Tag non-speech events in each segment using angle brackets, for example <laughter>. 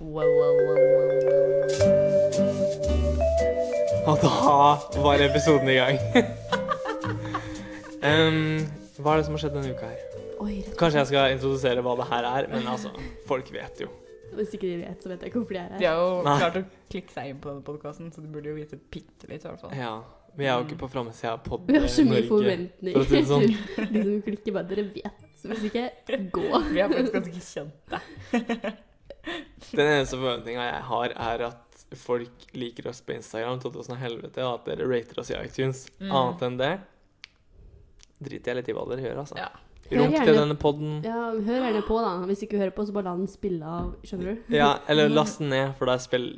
Wow, wow, wow, wow, wow. Og da var episoden i gang. Em, hwa er det som har skjedd denne uka her? Oi, rett. Kanskje jeg skal introdusere hva det her er, men altså, folk vet jo. Hvis ikke de vet, så vet jeg ikke hvorfor de er her. De har jo Nei. klart å klikke seg inn på denne podkasten, så du burde jo vite bitte litt, i hvert fall. Ja, Vi er jo ikke på framsida av Pod <laughs> Vi har så mye Norge. forventninger. for å si det sånn. <laughs> de som klikker bare, dere vet. Så hvis ikke, gå. Vi er faktisk ganske kjente. Den eneste forventninga jeg har, er at folk liker oss på Instagram, 2000 og helvete, og at dere rater oss i iTunes. Mm. Annet enn det driter jeg litt i hva dere gjør, altså. Ja. Hør Runk til gjerne- denne podden. Ja, hør gjerne på da. Hvis ikke du hører på, så bare la den spille av, skjønner du? Ja, eller last den ned, for det, er spill,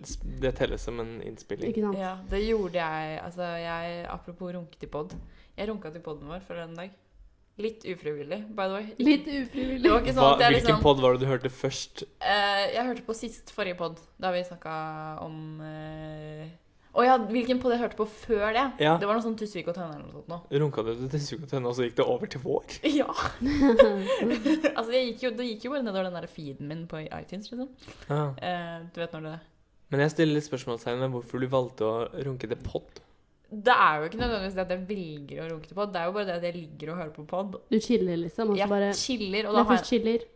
det telles som en innspilling. Ikke sant? Ja, det gjorde jeg. Altså, jeg Apropos runke til pod. Jeg runka til poden vår for en dag. Litt ufrivillig, by the way. Ikke- Litt Det var ufrivillig. ikke sånn Hva, at jeg hvilken liksom pod var det du hørte først? eh, Jeg hørte på sist forrige pod, da vi snakka om eh, Å ja, hvilken pod jeg hørte på før det? Ja. Det var noe sånn Tusvik og Tønne eller noe sånt nå. Runka du til Suga Tønne, og så gikk det over til vår? Ja. <laughs> altså, jeg gikk jo, det gikk jo bare nedover den der feeden min på iTunes, liksom. Ja. Eh, du vet når det Men jeg stiller litt spørsmålstegn ved hvorfor du valgte å runke til pod. Det er jo ikke nødvendigvis det at jeg velger å runke til pod, det er jo bare det at jeg ligger og hører på pod. <laughs> Du chiller liksom, og så Jeg bare... chiller, og Nei, da har, først chiller. jeg-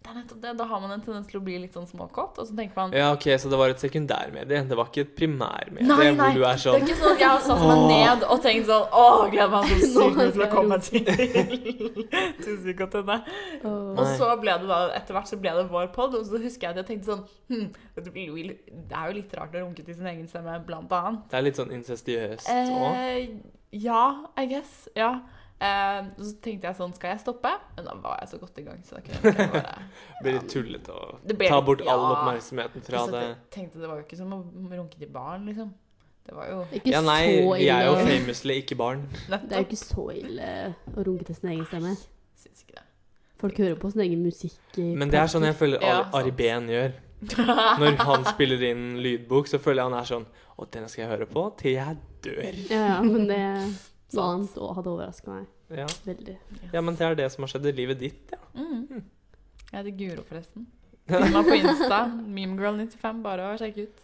det er nettopp det, da har man en tendens til å bli litt sånn småkåt, og så tenker man Ja, ok, Så det var et sekundærmedie, det var ikke et primærmedie? Nei, nei! hvor du Det er er sånn ikke sånn at jeg har satt meg Åh. ned og tenkt sånn Å, gleder meg så Nå sykt til skal å jeg komme til <laughs> Tusvik og Tønne. Og... Og Nei. så ble det da, etter hvert så ble det vår pod, og så husker jeg at jeg tenkte sånn hm, det, blir jo, det er jo litt rart å runke til sin egen stemme, blant annet. Det er litt sånn incestiøst òg. Eh, ja, I guess. Ja. Eh, så tenkte jeg sånn, skal jeg stoppe? Men da var jeg så godt i gang, så da kunne jeg bare Blir litt tullete å Det ble- ta bort all ja. oppmerksomheten fra Så det. jeg tenkte det var jo ikke som å runke til barn, liksom. Det var jo Ikke Ja, nei, så vi er jo ille. famously ikke barn. Det er jo nettopp. ikke så ille å runke til sin egen stemme. Syns ikke det. Folk hører på sin egen musikk i Men det er sånn jeg føler Ja, Ari, sant. Ari Behn gjør. <laughs> Når han spiller inn lydbok, så føler jeg han er sånn Å, den skal jeg høre på til jeg dør. Ja, ja, men det <laughs> Sånn. noe annet og hadde overraska meg Ja. veldig. ja, men det er det som har skjedd i livet ditt, ja. Mm. Jeg heter Guro, <laughs> forresten. Hun er på Insta. Memegirl95, bare å sjekke ut.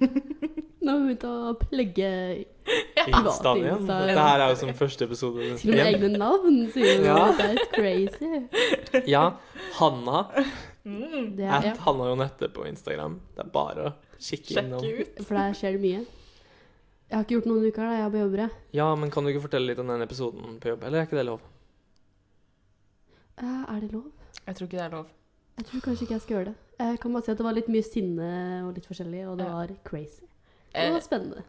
Nå har vi begynt å plugge Instaen igjen. Insta. Dette her er jo som første episode. til og med igjen. egne navn, sier hun. Ja. Det er litt crazy. Ja, Hanna Mm. Det er, at Hanna Jonette på Instagram. Det er bare å kikke Sjekk innom. ut. for der skjer det mye. Jeg har ikke gjort noen uker, da. Jeg har på jobber, jeg. Ja, men kan du ikke fortelle litt om den episoden på jobb? Eller er ikke det lov? Eh, Er det lov? Jeg tror ikke det er lov. Jeg tror kanskje ikke jeg skal gjøre det. Jeg kan bare si at det var litt mye sinne og litt forskjellig, og det Ja. var crazy. Det Eh, var spennende.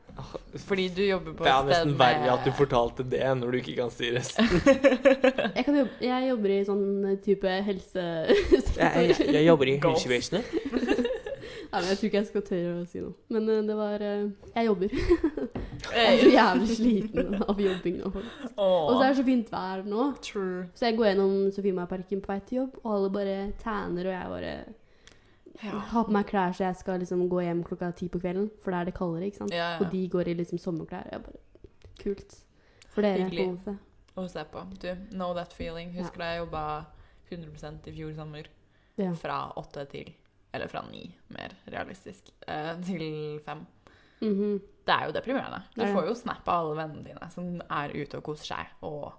fordi du jobber på Det er nesten verre at du får fortalte det når du ikke kan si resten. Jeg, kan jobbe, jeg jobber i sånn type <laughs> Jeg, jeg, helsesektor. jeg jobber i Golf. helsevesenet. Nei, men jeg tror ikke jeg skal tørre å si noe. Men eh, det var eh, Jeg jobber. Jeg er så eh, jævlig sliten av jobbing nå. Og så er det så fint vær nå. True. Så jeg går gjennom Sofiemarparken på vei til jobb, og alle bare tanner, og jeg bare Ja. har på meg klær så jeg skal liksom gå hjem klokka ti på kvelden, for da er det kaldere, ikke sant. Ja, Og ja. de går i liksom sommerklær. og Jeg bare Kult. For dere, på Hyggelig. en måte. Og se på. Du, know that feeling. Husker da jeg jobba 100 i fjor sommer? Ja. Fra åtte til Eller fra ni, mer realistisk. Eh, til fem. Mhm. Det er jo deprimerende. Du Det er det. får jo snap av alle vennene dine som er ute og koser seg og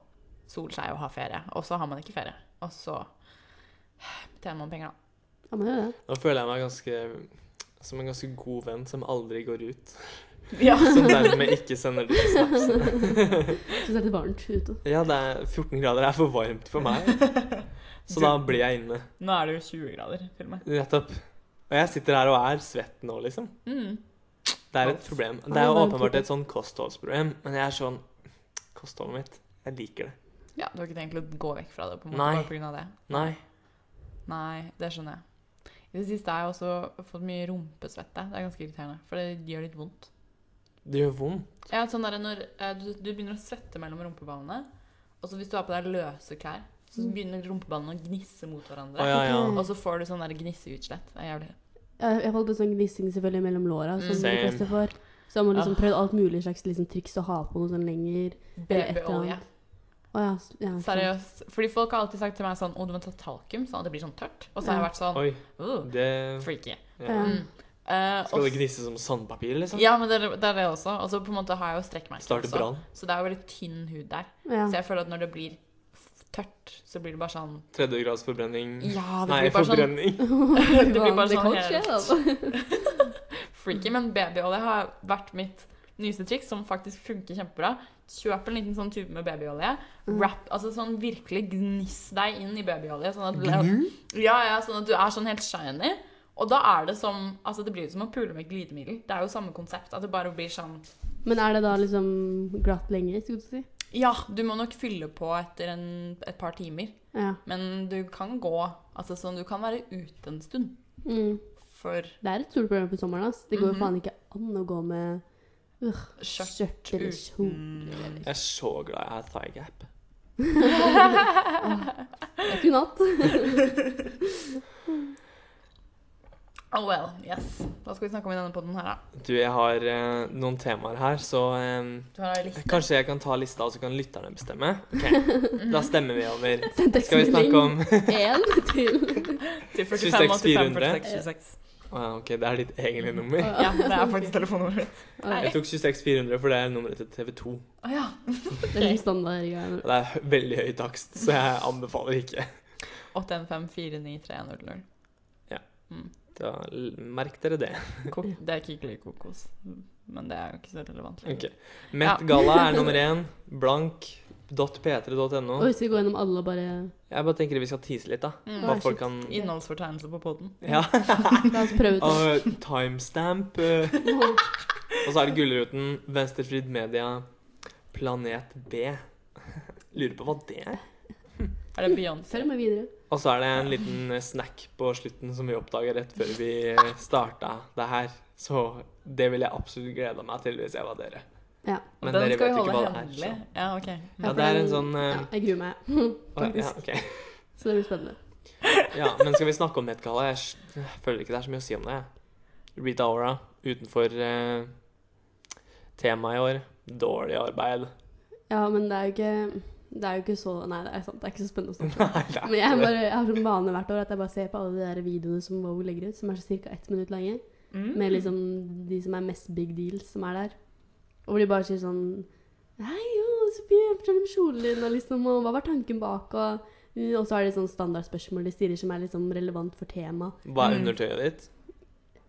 soler seg og har ferie, og så har man ikke ferie. Og så tjener man penger, da. Ja, men det er jo det. Nå føler jeg meg ganske som en ganske god venn som aldri går ut. Ja. <laughs> Som dermed ikke sender de snapsene. Syns det er litt varmt ute. Ja, det er 14 grader er for varmt for meg. Så da blir jeg inne. Nå er det jo 20 grader, til og med. Nettopp. Og jeg sitter her og er svett nå, liksom. Mm. Det er et problem. Ja, Det er jo det er et åpenbart problem. et sånn kostholdsproblem, men jeg er sånn Kostholdet mitt. Jeg liker det. Ja, du har ikke tenkt å gå vekk fra det på en måte, Nei. bare på grunn av det? Nei. Nei, det skjønner jeg. I det siste har jeg også fått mye rumpesvette. Det er ganske irriterende, for det gjør litt vondt. Det gjør vondt. Ja, sånn der når eh, du, du begynner å svette mellom rumpeballene, og så hvis du har på deg løse klær, så Mm. begynner rumpeballene å gnisse mot hverandre. Å ja, ja. Ok. Og så får du sånn der gnisseutslett. Det er jævlig. Jeg jeg falt på sånn gnissing selvfølgelig mellom låra, som Mm. de fleste får. Så jeg må Ah. liksom prøve alt mulig slags liksom, triks å ha på noe sånn lenger. Eller et eller Babyolje. annet. Å ja. s- ja oh, sant. Seriøst. Fordi folk har alltid sagt til meg sånn Å, du må ta talkum, sånn at det blir sånn tørt. Og så har jeg vært sånn Oi, «Åh, det freaky. Ja. Ja. Mm. Eh, Skal det og- gnisse som sandpapir, liksom? Ja, altså. men det er det er det også. Og så på en måte har jeg jo strekkmerker Starte også. brann? Så det er jo veldig tynn hud der. Ja. Så <laughs> jeg føler at når det blir f- tørt, så blir det bare sånn Tredjegrads forbrenning? Ja, det Mm. Nei, blir bare sånn forbrenning. Det blir bare Vanlig sånn coach, helt- ja, altså. freaky. Men babyolje har vært mitt nyeste triks, som faktisk funker kjempebra. Kjøp en liten sånn tube med babyolje. Mm. Wrap, altså sånn virkelig gniss deg inn i babyolje, sånn at Gnu? Ja, ja, sånn at du er sånn helt shiny. Og da er det som Altså, det blir jo som å pule med glidemiddel. Det er jo samme konsept. At det bare blir sånn Men er det da liksom glatt lenger, skulle du si? Ja, du må nok fylle på etter en, et par timer. Ja. Men du kan gå Altså sånn, du kan være ute en stund. Mm. For Det er et stort problem på sommeren. ass. Det går Mhm. jo faen ikke an å gå med skjørt skjørt <laughs> eller kjole. uten Jeg er så glad jeg har thigh gap. <laughs> Jeg kunne hatt. Oh well, yes. Hva skal vi snakke om i denne podden her, da? Du, jeg har eh, noen temaer her, så eh, Du har ei liste. kanskje jeg kan ta lista, og så kan lytterne bestemme? Ok, Da stemmer vi over. Send Skal vi snakke <laughs> om én <laughs> til Til 45, 46, 85, 400. 46, 26. Å ja, OK, det er ditt egentlige nummer. Ja, det er faktisk telefonnummeret <laughs> mitt. Jeg tok 26400, for det er nummeret til TV2. Å ja. Det er litt standardgreier. Det er hø- veldig høy takst, så jeg anbefaler ikke. 815 493 Da, l- merk dere det. Kok det er Kikli kokos, men det er jo ikke så relevant. lenger. Ok. Met Gala er nummer én. Blank.p3.no. Oi, skal vi gå gjennom alle og bare Jeg bare tenker vi skal tease litt, da. Mm. Hva Vær så folk kan Innholdsfortegnelse på podden. Ja. La oss prøve ut det. Og timestamp. eh. Og så er det Gullruten, Venstrefrid Media, Planet B. Lurer på hva det er. Er det Følg Beyoncé? med videre. Og så er det en liten eh, snack på slutten som vi oppdaga rett før vi eh, starta det her. Så det ville jeg absolutt gleda meg til hvis jeg var dere. Ja. Men Den dere skal vi vet jo ikke holde hva det er, hemmelig. Ja, ok. Ja, for det er en den- sånn, eh, Ja, jeg gruer meg. Å, Ja, ok. Så det blir spennende. ja, men skal vi snakke om nettgalla? Jeg s- føler ikke det er så mye å si om det. jeg. Rita Ora utenfor eh, temaet i år. Dårlig arbeid. Ja, men det er jo ikke Det er jo ikke så Nei, det er sant. Det er ikke så spennende å snakke <laughs> <laughs> om. Nei, det er Men jeg, ikke det. bare, jeg har som vane hvert år at jeg bare ser på alle de der videoene som Wow legger ut, som er ca. ett minutt lange, Mm. med liksom de som er mest big deals som er der. Og hvor de bare sier sånn Hei, jo, Sofie, fortell om kjolen din, og liksom Og hva var tanken bak, og og så har de sånn standardspørsmål de stiller som er liksom relevant for temaet. Hva er Mm. undertøyet ditt?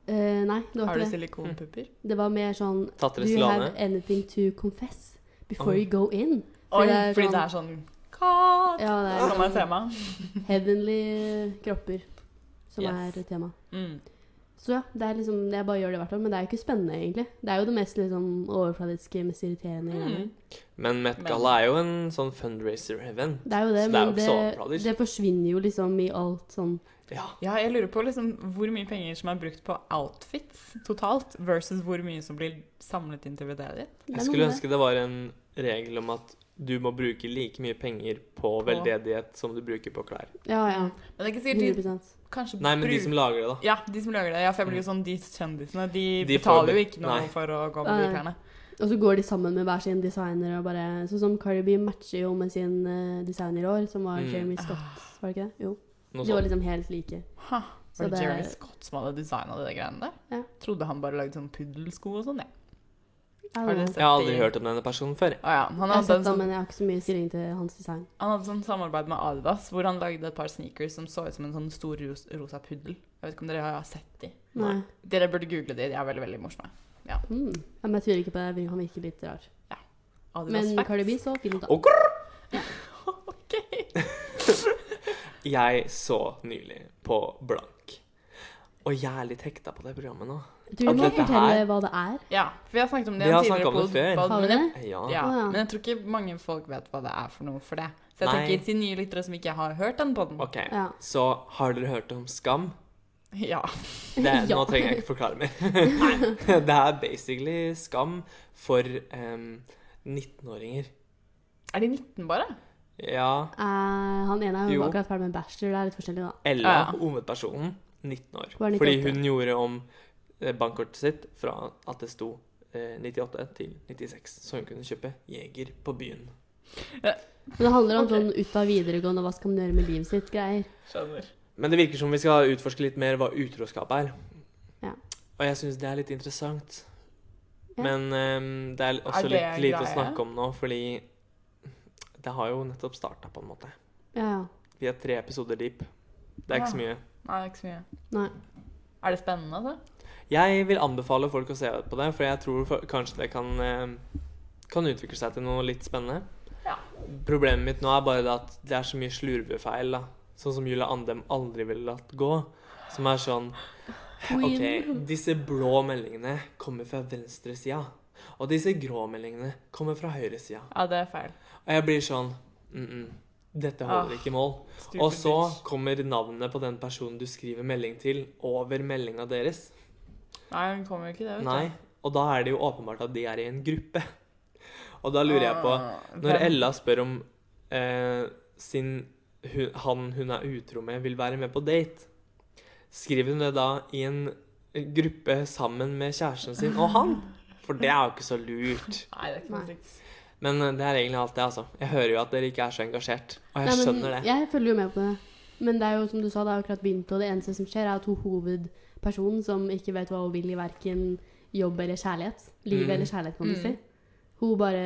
Eh, nei, det var Har du ikke det. silikonpupper? Det var mer sånn Tatt Do dere you have slane? anything to confess before Oi. you go in? Oi, det er fordi sånn- det er sånn Kat! Ja, det er Som er sånn tema. heavenly kropper som Yes. er tema. Mm. Så ja, det er liksom, jeg bare gjør det hvert år, men det er jo ikke spennende, egentlig. Det er jo det mest liksom, overfladiske, mest irriterende. Mm. greiene. Men Met Gala er jo en sånn fundraiser-event. Det er jo det, Så det er jo men ikke så overfladisk. det, det forsvinner jo liksom i alt sånn Ja. Ja, jeg lurer på liksom hvor mye penger som er brukt på outfits totalt, versus hvor mye som blir samlet inn til VD-et ditt. det er Jeg noe skulle med det. ønske det var en regel om at du må bruke like mye penger på veldedighet som du bruker på klær. Ja, Ah, ja. Men det er ikke sikkert 100 de kanskje Nei, men de som lager det, da. Ja, de som lager det. Ja, for jeg blir jo sånn, de kjendisene de, De får betaler jo be- ikke noe nei. for å gå med de Nei. klærne. Og så går de sammen med hver sin designer og bare Sånn som Cardi B matcher jo med sin eh, designer i år, som var Mm. Jeremy Scott, var det ikke det? Jo. Noe De var sånt. liksom helt like. Ha, Så var det det- Jeremy Scott som hadde designa de greiene der? Ja. Trodde han bare lagde sånn puddelsko og sånn, jeg. Ja, Har dere det- sett Jeg har aldri de- hørt om denne personen før. jeg. Å ja. Han Jeg har hadde, sett en det, sånn, men jeg har ikke så mye stilling til hans design. han hadde sånn samarbeid med Adidas hvor han lagde et par sneakers som så ut som en sånn stor ros rosa puddel. Jeg vet ikke om dere har sett de. Nei. Nei. Dere burde google de, de er veldig, veldig morsomme. Mm. Ja, men jeg tviler ikke på det. Han virker litt rar. Adidas Men facts. Cardi B så fin ut, da. Og- Ok. Jeg så nylig på Blank. Og jeg er litt hekta på det programmet nå. Du må At dette fortelle her- hva det er. <laughs> Ja, for vi har snakket om det i Vi en har tidligere snakket om det pod- før. pod- Har vi men jeg- det? Ja. Ja, Å, ja. men jeg tror ikke mange folk vet hva det er for noe for det. Så jeg Nei. tenker til nye lyttere som ikke har hørt den podden. OK. Ja. Så har dere hørt om <laughs> Skam? <laughs> Ja. Det, Nå Ja. trenger jeg ikke forklare <laughs> mer. det er basically Skam for ehm, em, 19-åringer. Er de 19 bare? Ja. Eh, han ene er jo Jo. akkurat ferdig med en bachelor. Det er litt forskjellig, da. Ella, Ja. hovedpersonen, 19 år. Var 98. Fordi hun gjorde om eh, bankkortet sitt fra at det sto eh, 98 til 96, så hun kunne kjøpe Jeger på byen. Men det handler om Ok. sånn ut av videregående, hva skal man gjøre med livet sitt, greier. Skjønner. Men det virker som vi skal utforske litt mer hva utroskap er. Og jeg syns det er litt interessant. Ja. Men ehm, det er også det litt lite å greie? snakke om nå, fordi det har jo nettopp starta, på en måte. Ja, ja. Vi er tre episoder deep. Det er ikke så mye. Nei, ikke så mye. Nei. Er det spennende, altså? da? Jeg vil anbefale folk å se på det, for jeg tror for, kanskje det kan, eh, kan utvikle seg til noe litt spennende. Ja. Problemet mitt nå er bare det at det er så mye slurvefeil, da. Sånn som Julie Andem aldri ville latt gå. Som er sånn OK, Queen. disse blå meldingene kommer fra venstresida. Og disse grå meldingene kommer fra høyresida. Ja, det er feil. Og jeg blir sånn mm -mm, Dette holder Ah. ikke mål. Stupid Og så bitch. kommer navnet på den personen du skriver melding til, over meldinga deres. Nei, hun kommer jo ikke det, vet Nei, du. og da er det jo åpenbart at de er i en gruppe. <laughs> Og da lurer jeg på Ah, Når Ella Ella spør om eh, sin, hu- han hun er utro med, vil være med på date, skriver hun det da i en gruppe sammen med kjæresten sin og han? For det er jo ikke så lurt. Nei, det er ikke noe Nei. triks. Men eh, det er egentlig alt, det, altså. Jeg hører jo at dere ikke er så engasjert, og Nei, jeg men skjønner det. Jeg følger jo med på det. Men det er jo som du sa, det er akkurat begynt, og det eneste som skjer, er at hun hovedpersonen som ikke vet hva hun vil i verken jobb eller kjærlighet, liv Mm. eller kjærlighet, kan du Mm. si, hun bare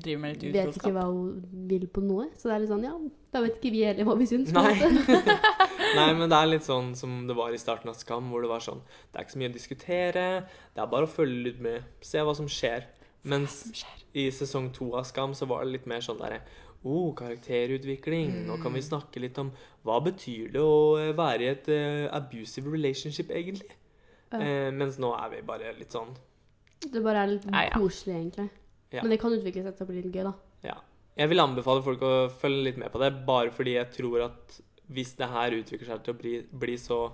Driver med litt vet ikke utroskap. hva hun vil på noe. Så det er litt sånn, ja, da vet ikke vi heller hva vi syns. på en Nei. måte. <laughs> Nei, men det er litt sånn som det var i starten av Skam, hvor det var sånn Det er ikke så mye å diskutere, det er bare å følge litt med, se hva som skjer. Mens i sesong to av Skam så var det litt mer sånn derre Oh, karakterutvikling. Nå kan vi Mm. snakke litt om hva betyr det å eh, være i et eh, abusive relationship, egentlig. Ja. Eh, mens nå er vi bare litt sånn Det bare er litt Ja, ja. koselig, egentlig. Ja. Men det kan utvikle seg til å bli litt gøy, da. Jeg vil anbefale folk å følge litt med på det, bare fordi jeg tror at hvis det her utvikler seg til å bli, bli så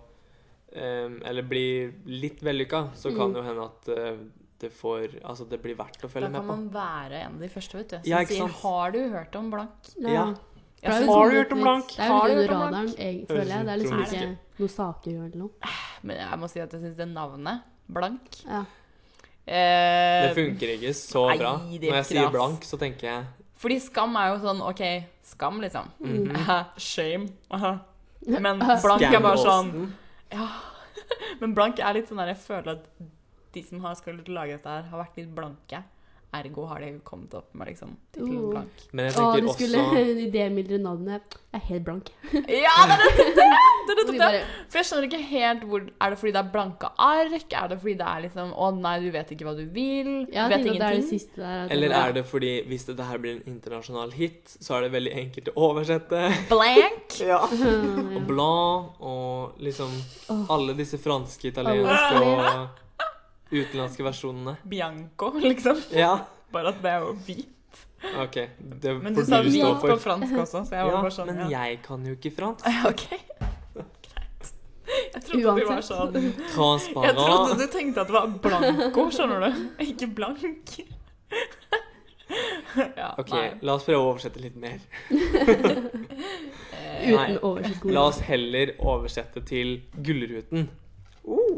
eh, Eller bli litt vellykka, så kan Mm. det jo hende at eh, det får Altså, det blir verdt å Da kan følge med på. man være en av de første, vet du. Som Ja, ikke sier sant? 'Har du hørt om blank?' Nei, Ja. for det er jo så liksom har du litt- gjort om blank? Det er Har jo du litt gjort under om radaren, blank? jeg, Høres føler jeg. Det er liksom utrolig ikke noen saker eller noe. Men jeg må si at jeg syns det navnet, blank Ja. eh, Det funker ikke så Nei, bra. det Når jeg funker, ass. sier blank, så tenker jeg Fordi skam er jo sånn OK, skam, liksom. Mm. <laughs> <laughs> mhm. Shame. Men blank er bare sånn Scam-osten. Men blank er litt sånn der jeg føler at de som har skal lage dette her, har vært litt blanke. Ergo har de kommet opp med liksom tittelen Oh. blank. Men jeg Å, tenker du skulle også <laughs> <laughs> idémildre navnet. Jeg er helt blank. Ja, det er nettopp det! det, er Og nettopp <laughs> de det. bare, For jeg skjønner ikke helt hvor Er det fordi det er blanke ark? Er det fordi det er liksom Å nei, du vet ikke hva du vil? ja, du jeg vet tenkte at det er det ingenting? siste der. at- Eller er det fordi hvis dette her blir en internasjonal hit, så er det veldig enkelt å oversette? Blank? Ja. <laughs> Ja. Mm. Og blanc og liksom Åh. alle disse franske, italienske og utenlandske versjonene. Bianco, <laughs> liksom. Ja, Bare at det er jo vi. OK. Det Men du får sa du det stå stod på for. fransk også, så jeg var Ja, bare sånn men ja. jeg kan jo ikke fransk. OK. Greit. Jeg trodde du var <laughs> sånn Uansett. Jeg trodde Transparent. du tenkte at det var blanco, skjønner du. Ikke blank. ja, OK, nei. la oss prøve å oversette litt <laughs> mer. Eh, Nei. Uten oversiktskode. La oss heller oversette til Gullruten.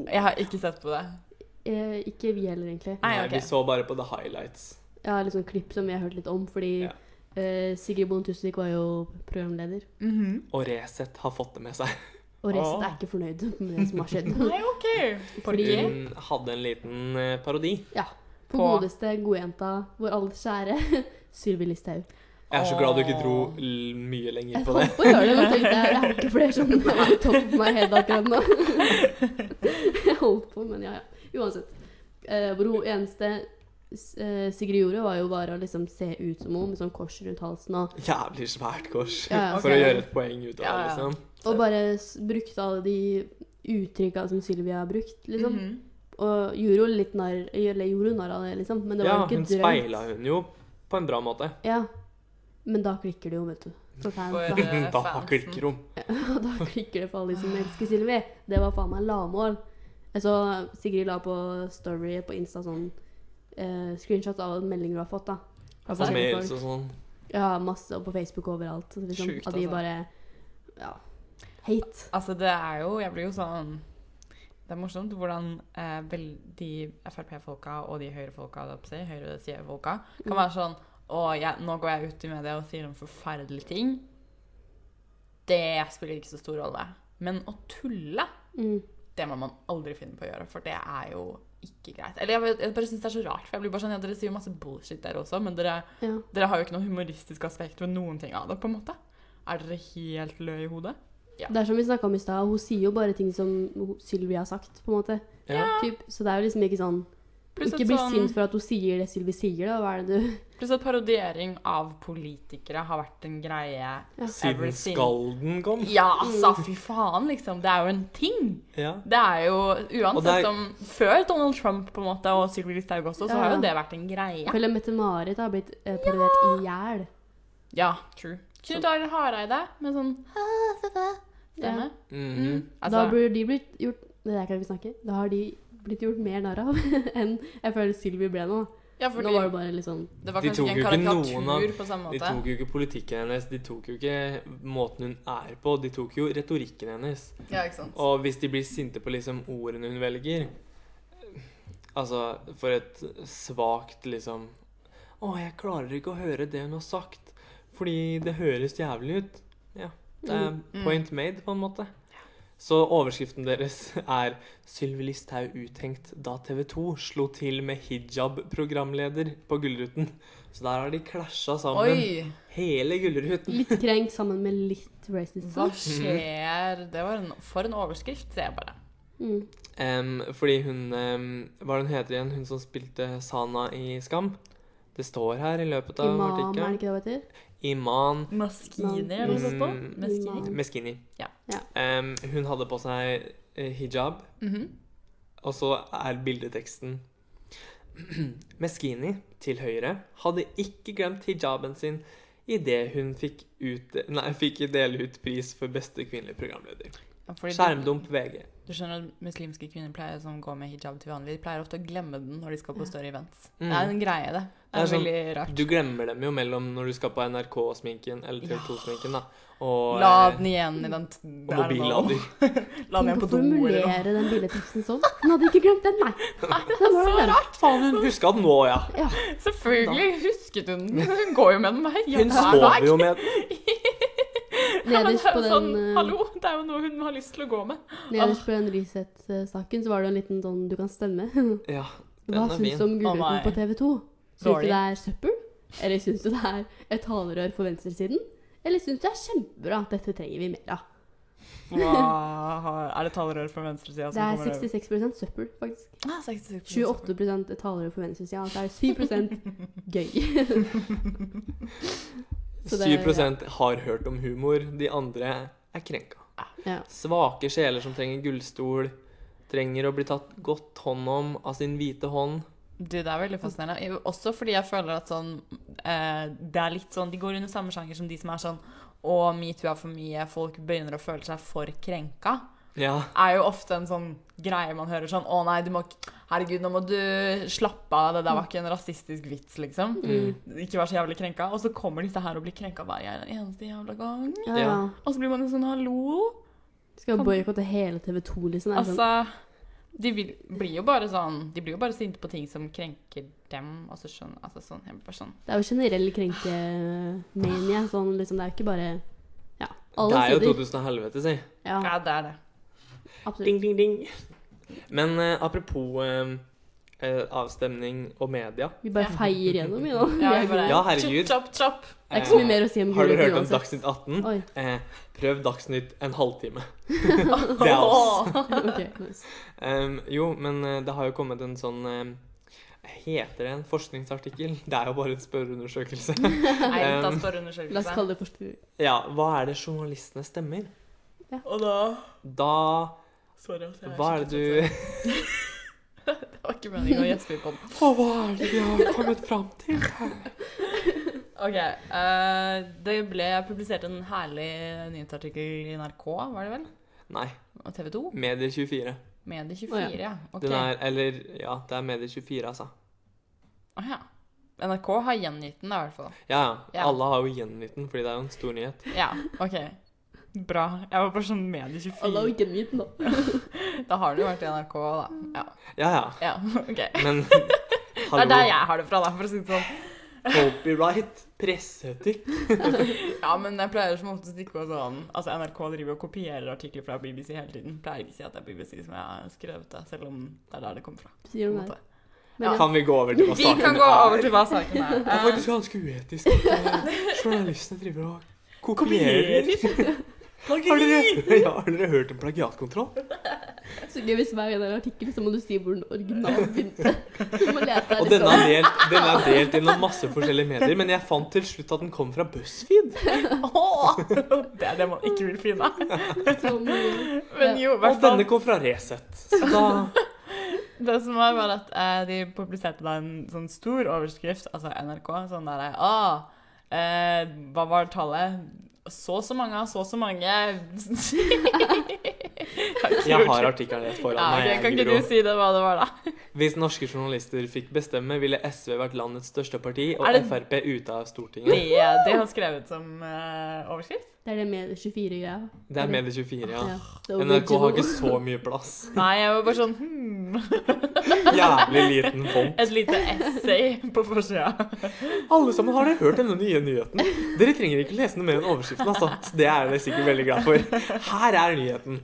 Jeg har ikke sett på det. Eh, ikke vi heller, egentlig. Nei, Nei, ok. vi så bare på the highlights. Jeg har liksom klipp som vi har hørt litt om, fordi Ja. eh, Sigrid Bonde Tusvik var jo programleder. Mhm. Og Resett har fått det med seg. Og Resett Åh. er ikke fornøyd <laughs> med det som har skjedd. Nei, OK. Fordi- Hun hadde en liten eh, parodi. På På- godeste godjenta, vår alles kjære <laughs> Sylvi Listhaug. Jeg er så glad du ikke dro Åh. l mye lenger Jeg på det. holdt på å gjøre det, men tenkte jeg jeg har ikke flere <laughs> som er topp på meg helt akkurat nå. <laughs> Jeg holdt på, men ja, ja. Uansett. Eh, hvor hun eneste eh, Sigrid gjorde, var jo bare å liksom se ut som hun, med sånn kors rundt halsen og Jævlig svært kors. Ja, ja. For å Ok. gjøre et poeng ut Ja, av det, ja. liksom. Og bare s- brukte alle de uttrykka som Sylvia har brukt, liksom. Mhm. Og gjorde jo litt narr Eller gjorde hun narr av det, liksom. Men det var Ja, jo ikke hun drøyt. speila hun jo på en bra måte. Ja. Men da klikker det jo, vet du. For fans, For- <laughs> da. Eh, Da fansen. klikker hun. <laughs> Og da klikker det for alle de som elsker Sylvi. Det var faen meg lavmål. Jeg så Sigrid la på story på Insta sånn eh, screenshot av en melding hun har fått, da. Altså, Og Nei. mails og sånn. Ja, masse, og på Facebook og overalt. Så liksom, Sjukt, at de altså. bare Ja. Hate. Altså, det er jo Jeg blir jo sånn Det er morsomt hvordan eh, vel, de Frp-folka og de Høyre-folka holdt jeg på å si, høyresidefolka kan være sånn Å, jeg, nå går jeg ut i media og sier en forferdelig ting. Det spiller ikke så stor rolle. Men å tulle Mm. det må man aldri finne på å gjøre, for det er jo ikke greit. Eller jeg, vet- jeg bare synes det er så rart, for jeg blir bare sånn, ja, dere sier jo masse bullshit der også, men dere, Ja. dere har jo ikke noe humoristisk aspekt ved noen ting av det, på en måte. Er dere helt lø i hodet? Det er som vi snakka om i stad, hun sier jo bare ting som hun- Sylvi har sagt, på en måte. Ja. Typ. Så det er jo liksom ikke sånn Pluss Ikke at bli sånn- sint for at hun sier det Sylvi sier, da. Hva er det du Pluss at parodiering av politikere har vært en greie. Siden Everything. Skalden kom. Ja, altså, fy faen, liksom. Det er jo en ting. Ja. Det er jo Og Uansett det er- om Før Donald Trump på en måte og Sylvi Listhaug også, så Ja, har ja. jo det vært en greie. Føler Mette-Marit har blitt eh, parodiert i hjel. Ja, true. Knut Arild Hareide med sånn stemme. Mhm. da Altså, blir de blitt gjort Det der kan vi snakke. Da har de blitt gjort mer narr av <laughs> enn jeg føler Sylvi ble nå. ja, Nå fordi var det bare litt sånn det var De kanskje tok ikke jo ikke en noen av- karikatur på samme De måte. tok jo ikke politikken hennes, de tok jo ikke måten hun er på, de tok jo retorikken hennes. Ja, ikke sant. Og hvis de blir sinte på liksom ordene hun velger Altså, for et svakt liksom Å, jeg klarer ikke å høre det hun har sagt, fordi det høres jævlig ut. Ja. Det er Mm. eh, point made, på en måte. Så overskriften deres <laughs> er 'Sylvi Listhaug uthengt da TV 2 slo til med hijab-programleder på Gullruten'. Så der har de klasja sammen Oi, hele Gullruten. litt krenkt sammen med litt Mm. racist. hva skjer? Det var en, for en overskrift, ser jeg bare. Mm. Em, fordi hun em, Hva er det hun heter igjen? Hun som spilte Sana i Skam? Det står her i løpet av Imam, er det artikkelen. ikke det hun heter? Iman Maskini, Man- eller noe sånt? på? Mm. Maskini. Meskini. Ja. Ja. Em, hun hadde på seg eh, hijab, Mhm. og så er bildeteksten <clears throat> Meskini til høyre hadde ikke glemt hijaben sin idet hun fikk, ut, nei, fikk dele ut pris for beste kvinnelige programleder. Ja, fordi du- Skjermdump VG. Du skjønner at muslimske kvinner pleier, som går med hijab til vanlig, de pleier ofte å glemme den når de skal på større events. Mm. Det er en greie, det. Det Det er, er sånn- veldig rart. Du glemmer dem jo mellom når du skal på NRK-sminken eller Ja. TV2-sminken. da. Og, La eh, den igjen i den t- og der nå. mobillader. La den igjen Tenk å på do eller noe. formulere den billedteksten sånn. Hun hadde ikke glemt den, nei. Den var der. Faen, hun huska den nå, ja! <laughs> Selvfølgelig husket hun den. Hun går jo med den her. Hun sover <laughs> jo med den. Nederst på den, sånn, eh, Hallo, det er jo noe hun har lyst til å gå med. Nederst på den Resett-saken så var det en liten sånn du kan stemme. Ja, Hva den er syns fin. du om Gullruten Å, nei. på TV 2? Syns du Dårlig. det er søppel? Eller syns du det er et talerør for venstresiden? Eller syns du det er kjempebra? Dette trenger vi mer av. er det talerør fra venstresida Det er 66 søppel, faktisk. sånn Ah, 28 et talerør for venstresida, og så er <laughs> det 7 gøy. 7 har hørt om humor. De andre er krenka. Ja. Svake sjeler som trenger gullstol. Trenger å bli tatt godt hånd om av sin hvite hånd. Du, det er veldig fascinerende. Jeg- Også fordi jeg føler at sånn eh, Det er litt sånn De går under samme sjanger som de som er sånn Å, metoo er for mye. Folk begynner å føle seg for krenka. Ja. Er jo ofte en sånn greie man hører sånn Å nei, du må ikke Herregud, nå må du slappe av. Det der var ikke en rasistisk vits, liksom. Mm. Ikke vær så jævlig krenka. Og så kommer disse her og blir krenka hver eneste jævla gang. ja, ja. Ja. Og så blir man jo sånn Hallo? Skal boikotte hele TV 2, liksom. Det er sånn, Altså de vil, blir jo bare sånn De blir jo bare sinte på ting som krenker dem. Og så skjønner Altså sånn. Jeg blir bare sånn det er jo generell krenkemania. Sånn, liksom, det er jo ikke bare Ja. det Alle er jo sider. 2000 og helvete, si. Ja, Ja, det er det. absolutt. Ding, ding, ding. Men eh, apropos eh, eh, avstemning og media. Vi bare feier gjennom, vi nå. Ja, vi bare, Ja, herregud. Chop, chop, chop. Det er ikke så Eh, mye mer å si om Har du Gullruten hørt om uansett. Dagsnytt 18? <laughs> Oi, Eh, prøv Dagsnytt en halvtime. det er oss. Åh. ok. nice. Em, jo, men eh, det har jo kommet en sånn em, Heter det en forskningsartikkel? Det er jo bare en spørreundersøkelse. Nei, ta Um, La oss spørreundersøkelse. kalle det forstyrring. ja, hva er det journalistene stemmer? Og da Da Sorry, altså. jeg er Hva er skikkelig det du trøtt. Det var ikke meningen å gjespe på den. Å, <laughs> hva er det vi har kommet fram til? OK. eh, det ble publisert en herlig nyhetsartikkel i NRK, var det vel? Nei. Og TV 2? Medier24. Medie24, Å, ja. Ok. Den er Eller ja, det er Medier24, altså. Å, ja. NRK har gjengitt den, da, i hvert fall. Ja, ja. Ja. Alle har jo gjengitt den, fordi det er jo en stor nyhet. Ja, OK. Bra. Jeg var bare sånn Alle har jo Medie24. gjengitt den, da. Da har det jo vært i NRK, da. Ja, Ja, ja. ja OK. Men Det er der <laughs> hallo. jeg har det fra, da, for å si det sånn. Copyright. Presseetikk. Ja, men jeg pleier som oftest ikke å sånn Altså, NRK driver og kopierer artikler fra BBC hele tiden. Pleier ikke å si at det er BBC som har skrevet det, selv om det er der det kommer fra. På Sier en hun der. måte. Men ja. Kan vi gå over til hva Vi kan saken gå over er? til hva saken er. Det <laughs> er faktisk ganske uetisk at eh, <laughs> journalistene driver og kopierer. <laughs> Har <laughs> dere, ja, har dere hørt om plagiatkontroll? Så gøy hvis hver gang det er en artikkel, så må du si hvor den originale begynte. Du må lete Og denne er delt, den er delt gjennom masse forskjellige medier, men jeg fant til slutt at den kom fra BuzzFeed. Åh, <laughs> Det er det man ikke vil <laughs> finne. sånn, ja. Men jo, i Og hvert fall. denne kom fra Resett. Så da Det som var, var at eh, de publiserte da en sånn stor overskrift, altså NRK, sånn derre ah, eh, Hva var tallet? Så og så mange av så og så <laughs> mange Jeg har artikkelen rett foran ja, meg. ok, jeg Kan gidder ikke å- du si det, hva det var, da? Hvis norske journalister fikk bestemme, ville SV vært landets største parti og Er det- Frp ute av Det, Stortinget. det har skrevet som eh, overskrift? Det er det med 24-greia. Det er Medie24, ja. Ja, det er NRK har ikke original. så mye plass. Nei, jeg var bare sånn hmm. Jævlig liten fond. Et lite essay på forsida. Alle sammen har dere hørt denne nye nyheten. Dere trenger ikke lese noe mer enn overskriften, altså. Så det er dere sikkert veldig glad for. Her er nyheten.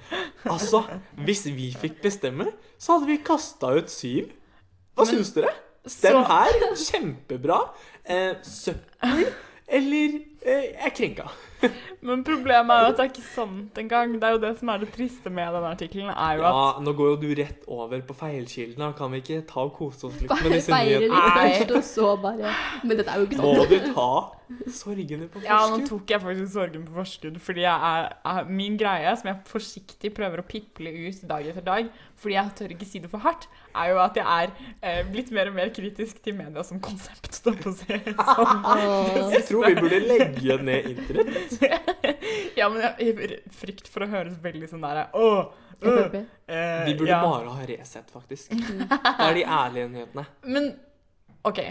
Altså, hvis vi fikk bestemme, så hadde vi kasta ut syv. Hva Men- syns dere? Så- Stem her. Kjempebra. Eh, søppel eller eh, Jeg er krenka. Men problemet er jo at det er ikke sant engang. Det er jo det som er det triste med denne artikkelen, er jo at Ja, nå går jo du rett over på feilkildene. Kan vi ikke ta og kose oss litt med disse Feirer litt nyhetene? Nei. først, og så bare Men dette er jo ikke Må sant. du ta sorgene på Ja, nå forskudd? tok jeg faktisk sorgen på forskudd, fordi jeg er, er min greie, som jeg forsiktig prøver å piple ut dag etter dag, fordi jeg tør ikke si det for hardt, er jo at jeg er eh, blitt mer og mer kritisk til media som konsept. Da, på å si <laughs> det sånn. Åh. Jeg tror vi burde legge ned internett. Ja, men jeg, jeg frykt for å høres veldig sånn der Åh! øh, Frp. eh, Vi burde ja. bare ha Resett, faktisk. Det er de ærlige nyhetene. Men OK.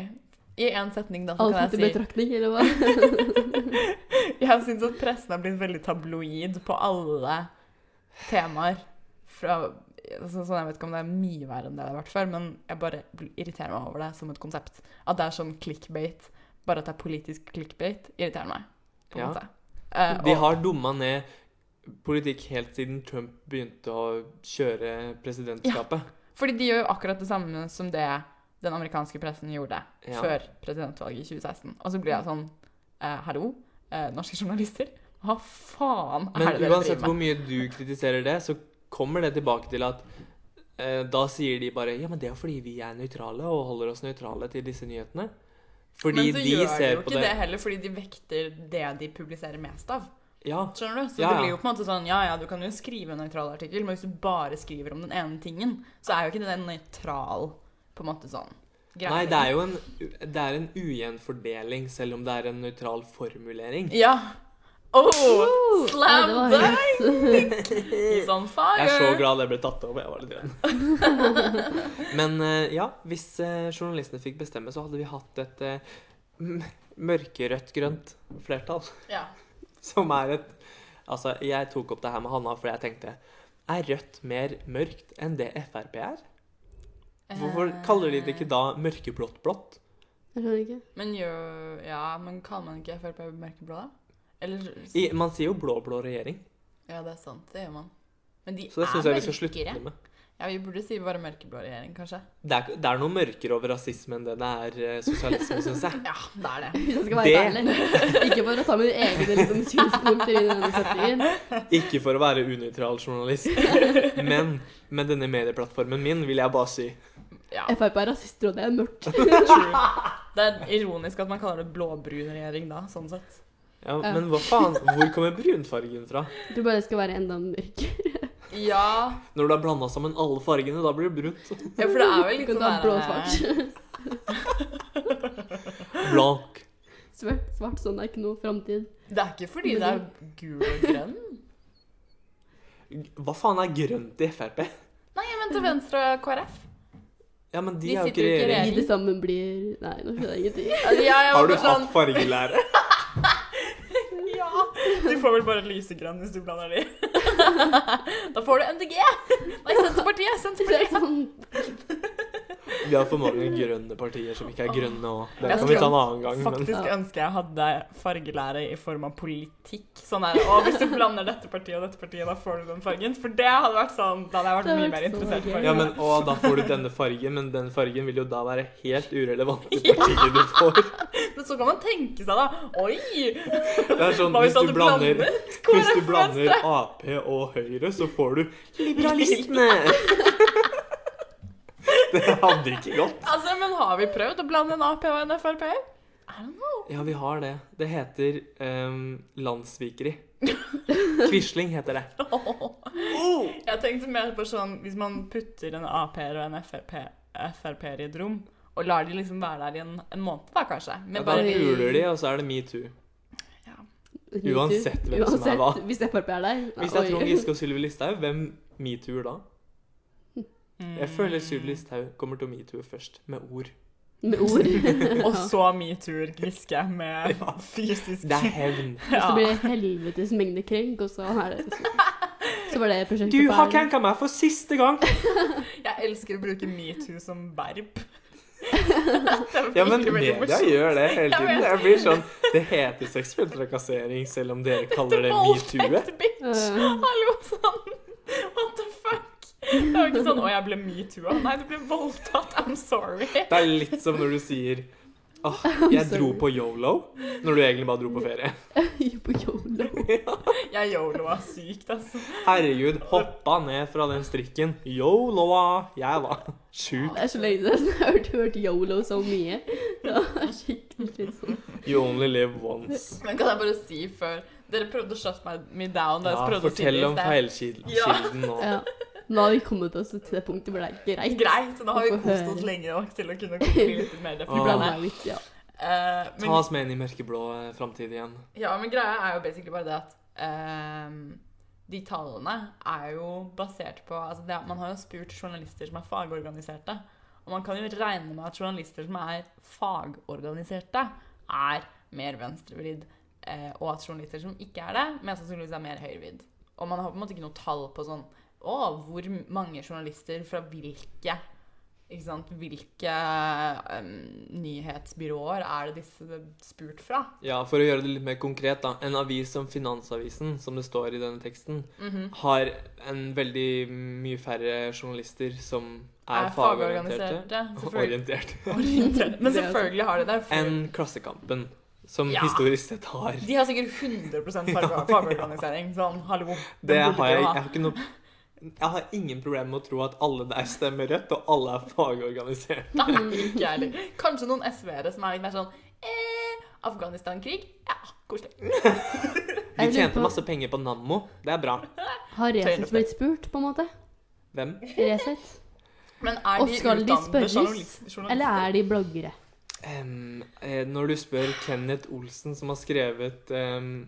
I én setning, da, så Alt kan etter jeg si betraktning, eller hva? <laughs> Jeg syns at pressen har blitt veldig tabloid på alle temaer. Fra, altså, sånn, jeg vet ikke om det er mye verre enn det det har vært før, men jeg bare bl- irriterer meg over det som et konsept. At det er sånn clickbait, bare at det er politisk clickbait, irriterer meg. På en Ja. måte. Eh, De og- har dumma ned politikk helt siden Trump begynte å kjøre presidentskapet. Fordi de gjør jo akkurat det samme som det den amerikanske pressen gjorde Ja. Mm. før presidentvalget i 2016. Og så blir jeg sånn eh, Hallo, eh, norske journalister. Hva faen er det Men dere uansett driver hvor med? mye du kritiserer det, så kommer det tilbake til at eh, da sier de bare Ja, men det er fordi vi er nøytrale og holder oss nøytrale til disse nyhetene. Fordi Men så de gjør de ser jo på ikke det. det heller, fordi de vekter det de publiserer mest av. Ja. Skjønner du? Så Ja, det ja. blir jo på en måte sånn Ja ja, du kan jo skrive en nøytral artikkel, men hvis du bare skriver om den ene tingen, så er jo ikke det en nøytral på en måte sånn greie. Nei, det er jo en, det er en ujevnfordeling, selv om det er en nøytral formulering. Ja. Oh! Ja, Slam det var dunk! helt- He's on sånn fire! Jeg er så glad det ble tatt opp. Jeg var litt redd. <laughs> Men eh, ja, hvis eh, journalistene fikk bestemme, så hadde vi hatt et eh, m- mørkerødt-grønt flertall. <laughs> Ja. Som er et Altså, jeg tok opp det her med Hanna fordi jeg tenkte Er Rødt mer mørkt enn det Frp er? Hvorfor Eh. kaller de det ikke da mørkeblått-blått? Jeg skjønner ikke. Men jo Ja, men kaller man ikke Frp mørkeblå, da? Eller I- Man sier jo blå-blå regjering, Ja, det er sant. Det gjør man. Men de så det syns er jeg vi skal slutte mørkere. med. Ja, vi burde si bare mørkeblå regjering, kanskje. Det er, det er noe mørkere over rasisme enn det det er eh, sosialisme, syns jeg. Ja, det er det. Hvis jeg skal være Det- ærlig. Ikke for å ta mine egne liksom, synspunkter inn i denne settingen. Ikke for å være unøytral journalist, men med denne medieplattformen min vil jeg bare si Ja, Frp er rasister, og det er mørkt. true. Det er ironisk at man kaller det blåbrun regjering da, sånn sett. ja, Men hva faen? Hvor kommer brunfargen fra? Du bare skal være enda mørkere. Ja, Når du har blanda sammen alle fargene, da blir det brunt. ja for det er vel litt Du kan ta sånn blå der svart. Blank. Svart, svart sånn er ikke noe framtid. Det er ikke fordi det er gul og grønn. Hva faen er grønt i Frp? <laughs> Nei, men til venstre og KrF. Ja, men de, De er jo sitter ikke jo ikke i regjering. Vi det sammen blir Nei, nå skjønner jeg ingenting. <laughs> Ja, jeg var Har du bare hatt fargelære? sånn, Ja. Du får vel bare lysegrønn hvis du blander de. <laughs> da får du MDG. Nei, Senterpartiet. Det er Senterpartiet. sånn Vi har for mange grønne partier som ikke er grønne òg. Det Jeg kan vi ta en skulle annen gang. Men Faktisk ønsker jeg hadde fargelære i form av politikk. Sånn er det. Og hvis du blander dette partiet og dette partiet, da får du den fargen. For det hadde vært sånn Da hadde jeg Det vært mye hadde mer vært så interessert i gøy. fargen. Ja, men og da får du denne fargen, men den fargen vil jo da være helt urelevant i partiet du får. Men så kan man tenke seg, da. Oi! Det er sånn, Hva hvis hvis du alle blander blandet? <laughs> Hvis du blander Ap og Høyre, så får du liberalistene. <laughs> Det hadde ikke gått. Altså, men har vi prøvd å blande en Ap og en Frp? I don't know. Ja, vi har det. Det heter ehm, landssvikeri. Quisling heter det. <laughs> Oh! Jeg tenkte mer på sånn Hvis man putter en Ap-er og en Frp Frp-er i et rom, og lar de liksom være der i en, en måned, da kanskje. Ja, Men da <laughs> bare puler de, og så er det metoo. <laughs> Uansett hvem som er hva. Hvis Frp er der. Hvis det er oi. Trond Giske og Sylvi Listhaug, hvem metoo-er da? Jeg Mm. føler Sylvi Listhaug kommer til å metoo først, med ord. <laughs> Med <laughs> ord. Og så metoo Giske med fysisk <laughs> Det er hevn. Og så blir det helvetes mengde krenk, og så er det så, så var det prosjektet Du har ferdig. <laughs> krenka meg for siste gang! Jeg elsker å bruke metoo som <laughs> verb. Ja, men media gjør det hele Jeg tiden. vet. Jeg blir sånn Det heter seksuell trakassering, selv om dere kaller det metoo. Voldtekt, bitch! Øh. Hallo, sånn. What the fuck? Det var ikke sånn 'Å, jeg ble metoo'. Nei, du ble voldtatt. I'm sorry. Det er litt som når du sier Åh, jeg dro på yolo, når du egentlig bare dro på ferie. På Yolo. Jeg yoloa sykt, altså. Herregud, hoppa ned fra den strikken. Yoloa! Jeg var sjuk. Det er så lenge siden jeg har hørt, hørt Yolo så mye. Det var skikkelig slitsomt. You only live once. Men kan jeg bare si før Dere prøvde å shut meg- me down. Da jeg Ja, prøvde å si fortell det i om sted. feilkilden nå. Ja. Nå har vi kommet oss til det punktet hvor det er greit. Greit. Nå har vi Hvorfor kost hører? oss lenge nok til å kunne bli litt mer Vi blander definisjonen. meg litt, ja. Ah. eh, Ta oss med inn i mørkeblå eh, framtid igjen. Ja, men greia er jo basically bare det at ehm, de tallene er jo basert på altså det, Man har jo spurt journalister som er fagorganiserte. Og man kan jo regne med at journalister som er fagorganiserte, er mer venstrevridd. eh, og at journalister som ikke er det, mest sannsynligvis er mer høyrevridd. Og man har på en måte ikke noe tall på sånn Å, hvor mange journalister fra hvilke ikke sant, Hvilke ehm, nyhetsbyråer er det disse er spurt fra? Ja, For å gjøre det litt mer konkret, da. En avis som Finansavisen, som det står i denne teksten, har en veldig mye færre journalister som er, Er fagorienterte. fagorganiserte, og selvfølgelig. <laughs> Orientert. altså orientert. Men Det er selvfølgelig har de det. for- Enn Klassekampen, som Ja. historisk sett har De har sikkert 100 <laughs> Ja, ja. fag- fagorganisering. Sånn, hallo. Det burde har de jeg, jo ha. jeg har ikke noe Jeg har ingen problemer med å tro at alle der stemmer rødt, og alle er fagorganisert. <laughs> Nei, ikke jeg heller. Kanskje noen SV-ere som er litt mer sånn eh, Afghanistan-krig? Ja, koselig. De Jeg lurer tjente på- masse penger på Nammo. Det er bra. Har Tøyler Resett på. blitt spurt, på en måte? Hvem? Resett? Men er Og de skal de utdannede spørres, journalist- journalister? Eller er de bloggere? Em, eh, når du spør Kenneth Olsen, som har skrevet um,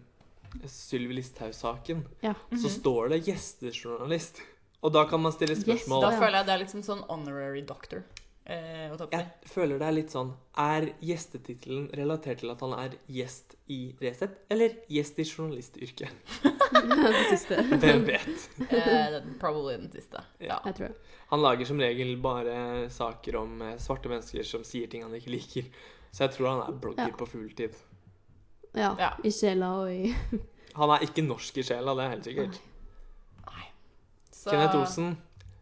Sylvi Listhaug-saken, Ja. så Mhm. står det 'gjestejournalist'. Og da kan man stille spørsmål. Da Ja. føler jeg det er litt som sånn honorary doctor. Eh, å ta på seg. <laughs> Jeg føler det er litt sånn Er gjestetittelen relatert til at han er gjest i Resett, eller gjest i journalistyrket? <laughs> Det siste. Hvem vet? Eh, probably Eh, den siste. Ja. Jeg tror det. Han lager som regel bare saker om eh, svarte mennesker som sier ting han ikke liker. Så jeg tror han er blogger Ja. på fulltid. Ja. Ja. I sjela og i Han er ikke norsk i sjela, det er helt sikkert. Så- Kenneth Olsen,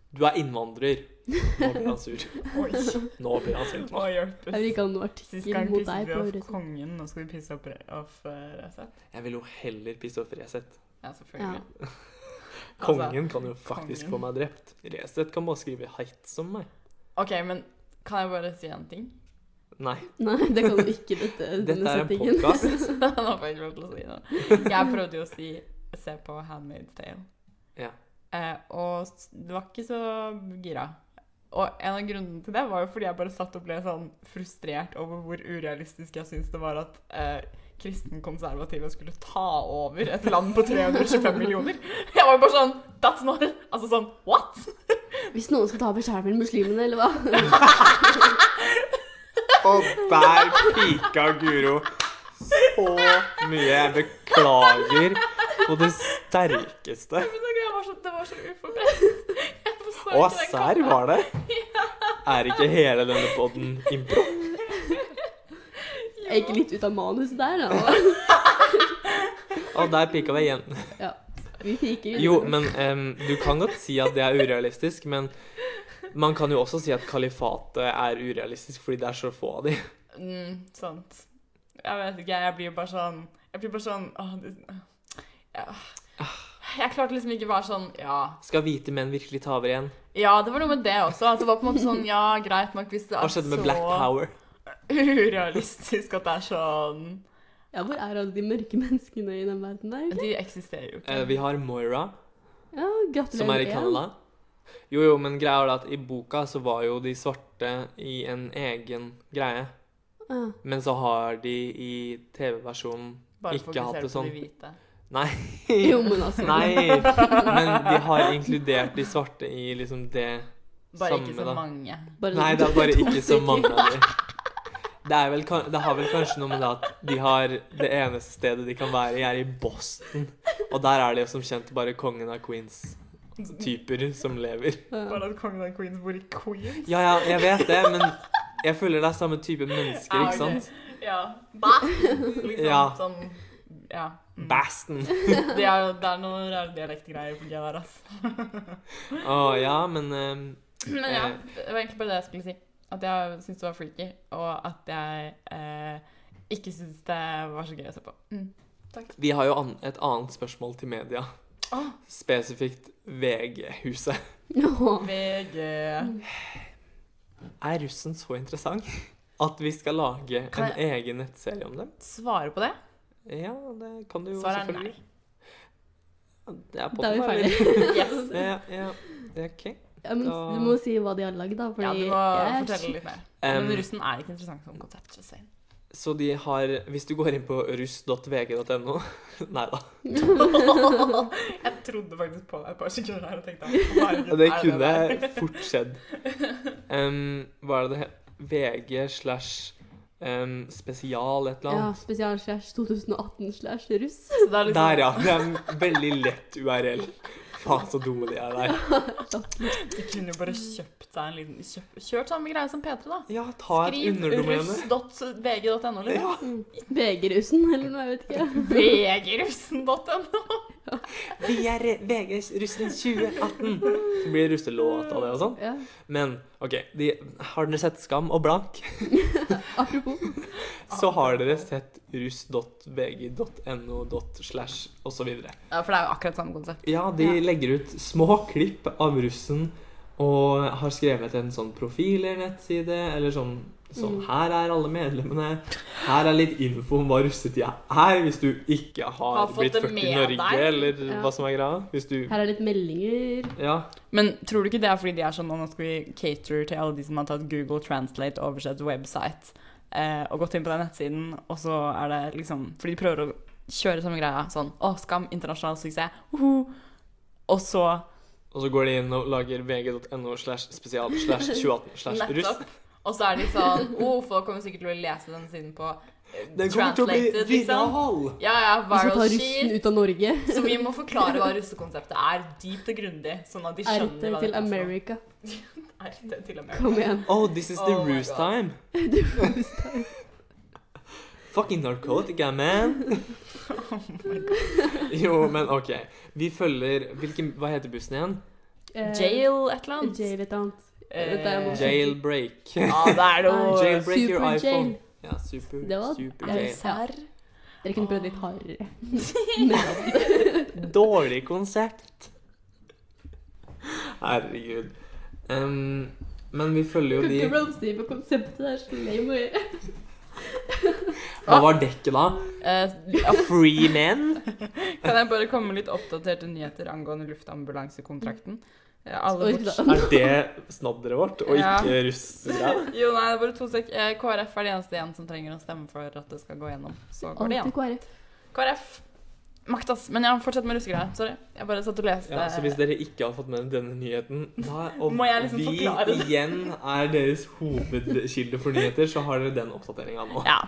du er innvandrer. Nå blir han sur. Oi, Nå blir han sint. å hjelpes. Jeg vil ikke ha noe Sist artikkel gang mot pisset deg vi på off Resett. kongen, nå skal vi pisse opp re- off eh, Resett. Jeg vil jo heller pisse off Resett. Ja, selvfølgelig. Kongen kan jo faktisk Altså, kongen. få meg drept. Resett kan bare skrive 'heit' som meg. Ok, men kan jeg bare si en ting? <laughs> Nei, Nei, det kan du ikke dette, dette denne er en settingen. podkast. Nå får jeg ikke lov til å si noe. Jeg prøvde jo å si se på Handmaid's Tale. Ja. Eh, og s- du var ikke så gira. Og en av grunnene til det var jo fordi jeg bare satt og ble sånn frustrert over hvor urealistisk jeg syntes det var at eh, kristenkonservative skulle ta over et land <laughs> på 325 millioner. Jeg var jo bare sånn That's not Altså sånn What? <laughs> Hvis noen skal ta over skjermen muslimene, eller hva? Og der pika Guro så mye. Jeg beklager på det sterkeste. Men det var så, det var så uforberedt. Jeg forstår Og ikke den serr var det. Er ikke hele denne podden impro? Jeg gikk litt ut av manuset der, da. Og der pika vi igjen. Vi gikk ut. Jo, men em, du kan godt si at det er urealistisk, men man kan jo også si at kalifatet er urealistisk fordi det er så få av de. Mm, sant. Jeg vet ikke, jeg blir jo bare sånn Jeg blir bare sånn åh, det, ja. Jeg klarte liksom ikke bare sånn Ja. Skal hvite menn virkelig ta over igjen? Ja, det var noe med det også. At det var på en måte sånn Ja, greit nok hvis det Hva er så skjedde med Black Altså- Power? urealistisk at det er sånn Ja, hvor er alle de mørke menneskene i den verden der? egentlig? De eksisterer jo ikke. Eh, Vi har Moira, Ja, gratulerer. som er i igjen. Canada. Jo, jo, men greia er det at i boka så var jo de svarte i en egen greie. Ja. Men så har de i TV-versjonen Bare ikke fokusere hatt det på sånn. de hvite. Nei. Jo, men altså. Nei. Men de har inkludert de svarte i liksom det Bare samme, ikke så da. mange. Bare Nei, det er bare to ikke så stykker. mange av de. Det, er vel, kan- det har vel kanskje noe med det at de har det eneste stedet de kan være i, er i Boston. Og der er det jo som kjent bare kongen av Queens-typer som lever. Ja. at kongen av Queens bor i Queens? Ja, ja, jeg vet det, men jeg føler det er samme type mennesker, ikke sant? Ja. Bæsj! Liksom Ja. sånn Ja. Mm. Baston. Det er, det er noen rare dialektgreier på G der, altså. Å ja, men eh, Men ja, Eh. det var egentlig bare det jeg skulle si. At jeg syntes det var freaky, og at jeg eh, ikke syntes det var så gøy å se på. Mm. vi har jo an et annet spørsmål til media. Åh. Spesifikt VG-huset. Åh. VG Er russen så interessant at vi skal lage Kan en egen nettserie om dem? Svare på det? Ja, det kan du jo Svaret er nei. selvfølgelig. Det er Da er vi podden, ferdige. Yes. eller? <laughs> Ja, ja. ja, OK. Ja, men Da- du må si hva de har lagd, da. Fordi Ja, du må jeg er fortelle litt mer. Em, Men russen er ikke interessant som konsept. just saying. Ehm, så de har Hvis du går inn på russ.vg.no <laughs> Nei da. <laughs> jeg trodde faktisk på deg et par sekunder her og tenkte <laughs> herregud, Det er kunne der? fort skjedd. Em, hva er det det het? VG slash em, spesial et eller Ja, annet. spesial slash 2018 slash russ. <laughs> Så det er liksom, Der, ja. Det er en veldig lett URL. Faen, så dumme de er der. De kunne jo bare kjøpt seg en liten kjøp, Kjørt samme greie som P3, da. Ja, ta et Skriv underdomene. russ.vg.no, liksom. <laughs> Mm. VG-russen, eller noe, jeg vet ikke. Vgrussen.no. Vi er VGs russen 2018. Så blir det russelåt av det og sånn. Ja. Men OK, de, har dere sett Skam og Blank, Apropos. så har dere sett russ.vg.no slash osv. Ja, for det er jo akkurat samme konsept. Ja, de Ja. legger ut små klipp av russen og har skrevet en sånn profil eller nettside, eller sånn, sånn Mm. Her er alle medlemmene. Her er litt info om hva russetida er, hvis du ikke har, Har fått blitt det født i med Norge, deg. eller Ja. hva som er greia. Hvis du Her er litt meldinger. Ja. Men tror du ikke det er fordi de er sånn «Å, Nå skal vi cater til alle de som har tatt Google Translate, oversett website, eh, og gått inn på den nettsiden, og så er det liksom For de prøver å kjøre samme greia. Sånn Å, Skam, internasjonal suksess. Uhu. Og så Og så går de inn og lager vg.no slash spesial <laughs> slash 2018 slash russ. nettopp. Og så er de sånn Å, folk kommer sikkert til å lese den siden på eh, Den kommer til å bli translated, liksom. viral! Ja, ja, Vi skal viral ta russen shit. ut av Norge. Så vi må forklare hva russekonseptet er, dypt og grundig, sånn at de RT skjønner hva altså. det til er. for noe. America. RT til Amerika. <laughs> Kom igjen. <laughs> Oh, this is the Oh my ruse God. time. Fucking narkotika, man. <laughs> jo, men OK. Vi følger Hvilken Hva heter bussen igjen? Eh, Jail et eller annet. Jail et annet. Eh, Dette er morsomt. Jailbreak. Ja, det er noe Jail. Jailbreak your Super jail. iPhone. <laughs> Ja, super, Ah, Det var- super Ja, jail. Serr? Dere kunne prøvd Ah. litt <laughs> hardere. <laughs> Dårlig konsept. Herregud. Em, men vi følger jo Kunne ikke de blomstre på konseptet. Det er så lame. Hva var dekket, da? Eh, Free men? kan jeg bare komme med litt oppdaterte nyheter angående luftambulansekontrakten? Eh, alle Oi, bort- da. Er det snodderet vårt, og Ja. ikke russere? <laughs> Jo, nei, det er bare to sek. Eh, KrF er de eneste igjen som trenger å stemme for at det skal gå gjennom. Så går det igjen. Alltid <laughs> KrF. KrF. Makt, ass. Men ja, fortsett med russegreia. Sorry. Jeg bare satt og leste. Ja, så hvis dere ikke har fått med denne nyheten, da, og Må jeg liksom vi forklare det? igjen er deres hovedkilde for nyheter, så har dere den oppdateringa nå. Ja.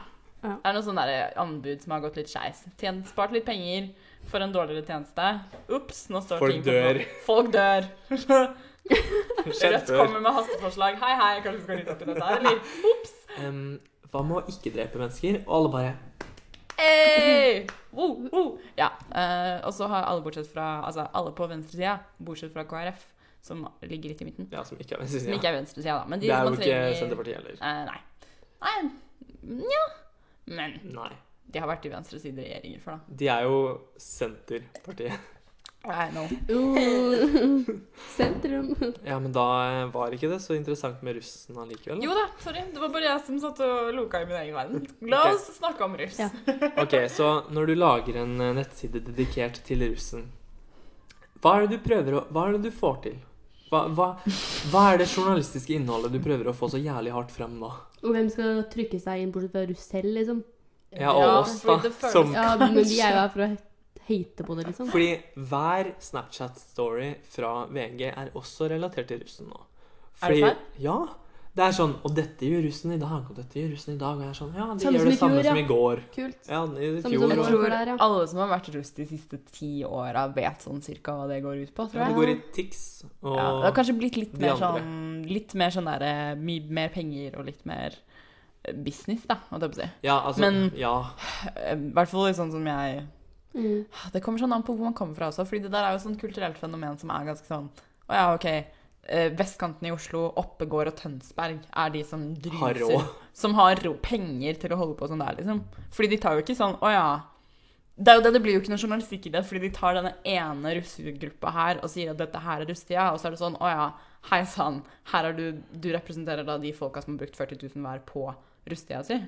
Ja. Det er noe sånn der anbud som har gått litt skeis. Tjent- Spart litt penger for en dårligere tjeneste. Ops, nå står Folk ting dør. på blå. Folk dør. Skjedd <laughs> Rødt før. kommer med hasteforslag. Hei, hei, kanskje vi skal rydde opp i dette her, eller? Ops! Em, hva med å ikke drepe mennesker? Og alle bare <laughs> Hey! Wow, wow. Ja. eh, og så har alle bortsett fra Altså alle på venstresida, bortsett fra KrF, som ligger litt i midten. Ja, som ikke er Som venstresida. ikke er venstresida, da. Men de, Det er jo man ikke trenger- Senterpartiet heller. Eh, nei. Nei, nja. Men Nei. de har vært i venstresideregjeringer før, da. De er jo Senterpartiet. I know. Uh, sentrum. Ja, men da eh, var ikke det så interessant med russen allikevel. da. Jo da, sorry. Det var bare jeg som satt og loka i min egen verden. La oss snakke om russ. Ja. Ok, så når du lager en eh, nettside dedikert til russen, hva er det du prøver å Hva er det du får til? Hva, hva, hva er det journalistiske innholdet du prøver å få så jævlig hardt frem nå? Og hvem skal trykke seg inn bortsett fra russ selv, liksom? Ja, og Ja, oss, da. fordi det føles- Som Ja, men de er jo her for å hate på det, liksom. Fordi hver Snapchat-story fra VG er også relatert til russen nå. Er det Fordi- Ja. Det er sånn Og dette gjør russen i dag, og dette gjør russen i dag. Og jeg er sånn Ja, de Samme gjør som det i fjor, samme som ja. i går. Kult. Ja, i Samme som i fjor. Jeg går. og- tror der, ja. alle som har vært russ de siste ti åra, vet sånn cirka hva det går ut på, tror Ja, jeg. det går i tics. Og Ja, det har kanskje blitt litt de mer andre. sånn Litt mer sånn der eh, mye mer penger og litt mer eh, business, da, holdt jeg på å si. Ja, altså Men- Ja. Eh, I hvert fall litt sånn som jeg Mm. Det kommer sånn an på hvor man kommer fra også, fordi det der er jo sånn kulturelt fenomen som er ganske sånn Å ja, OK. eh, Vestkanten i Oslo, Oppegård og Tønsberg er de som Har dryser råd. som har ro penger til å holde på sånn der, liksom. Fordi de tar jo ikke sånn Å ja. Det er jo det, det blir jo ikke noe journalistikk i det, fordi de tar denne ene russegruppa her og sier at dette her er russetida, og så er det sånn Å ja, hei sann, her er du Du representerer da de folka som har brukt 40 000 hver på russetida si.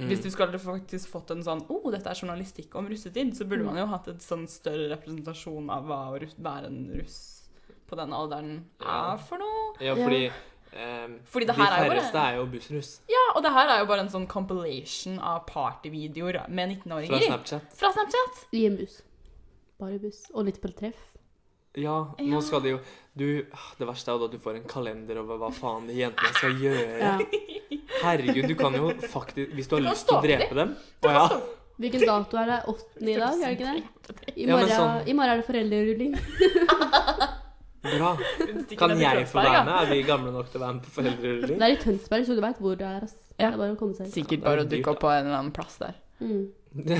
Mm. Hvis du skulle faktisk fått en sånn Å, oh, dette er journalistikk om russetid, så burde man jo hatt en sånn større representasjon av hva å rus- være en russ på den alderen Ja. er for noe. Ja, fordi ehm, Fordi De det her er jo bare- færreste er jo bussruss Ja, og det her er jo bare en sånn compilation av partyvideoer med fra 19-åringer i. Snapchat. Fra Snapchat! I en buss. Bare buss. Og litt på treff. Ja, Ja. nå skal de jo du, ah, Det verste er jo da at du får en kalender over hva faen de jentene <laughs> skal gjøre. Ja. Herregud, du kan jo faktisk Hvis du har Du kan lyst til å stalke drepe dem Å ja. Hvilken dato er det? Åttende i dag, er det ikke det? I Ja, men morgen, sånn- i morgen er det foreldrerulling. Bra. Kan jeg få være med? Er vi gamle nok til å være med på foreldrerulling? Det er i Tønsberg, så du veit hvor det er. Ass. Ja. Det er bare å komme seg dit. Sikkert Ja, det bare er å dyrt, dukke opp på en eller annen plass der. Mm. <laughs>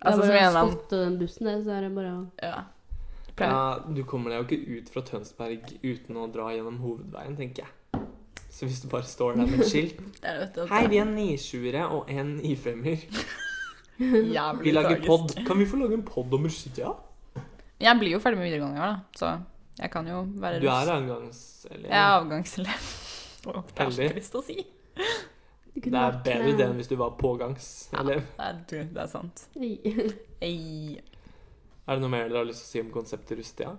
Det er Altså som en bare å eller annen spotte den bussen, der, så er det bare å ja. Pleier. Ja, du kommer deg jo ikke ut fra Tønsberg uten å dra gjennom hovedveien, tenker jeg. Så hvis du bare står der med et <laughs> skilt Det er vet du, Hei, vi er nisjuere og en nifemmer. Jævlig Vi lager tragisk. pod. Kan vi få lage en pod om russetida? Jeg blir jo ferdig med videregående i år, da, så jeg kan jo være Du er avgangs... Eller Jeg er avgangselev. Åh, <laughs> Det er så Heldig. trist å si. Det eh, Det er bedre det enn hvis du var pågangs. Ja, det Eller er, du- det er sant. bedre. Ei, er det noe mer dere har lyst til å si om konseptet russetida?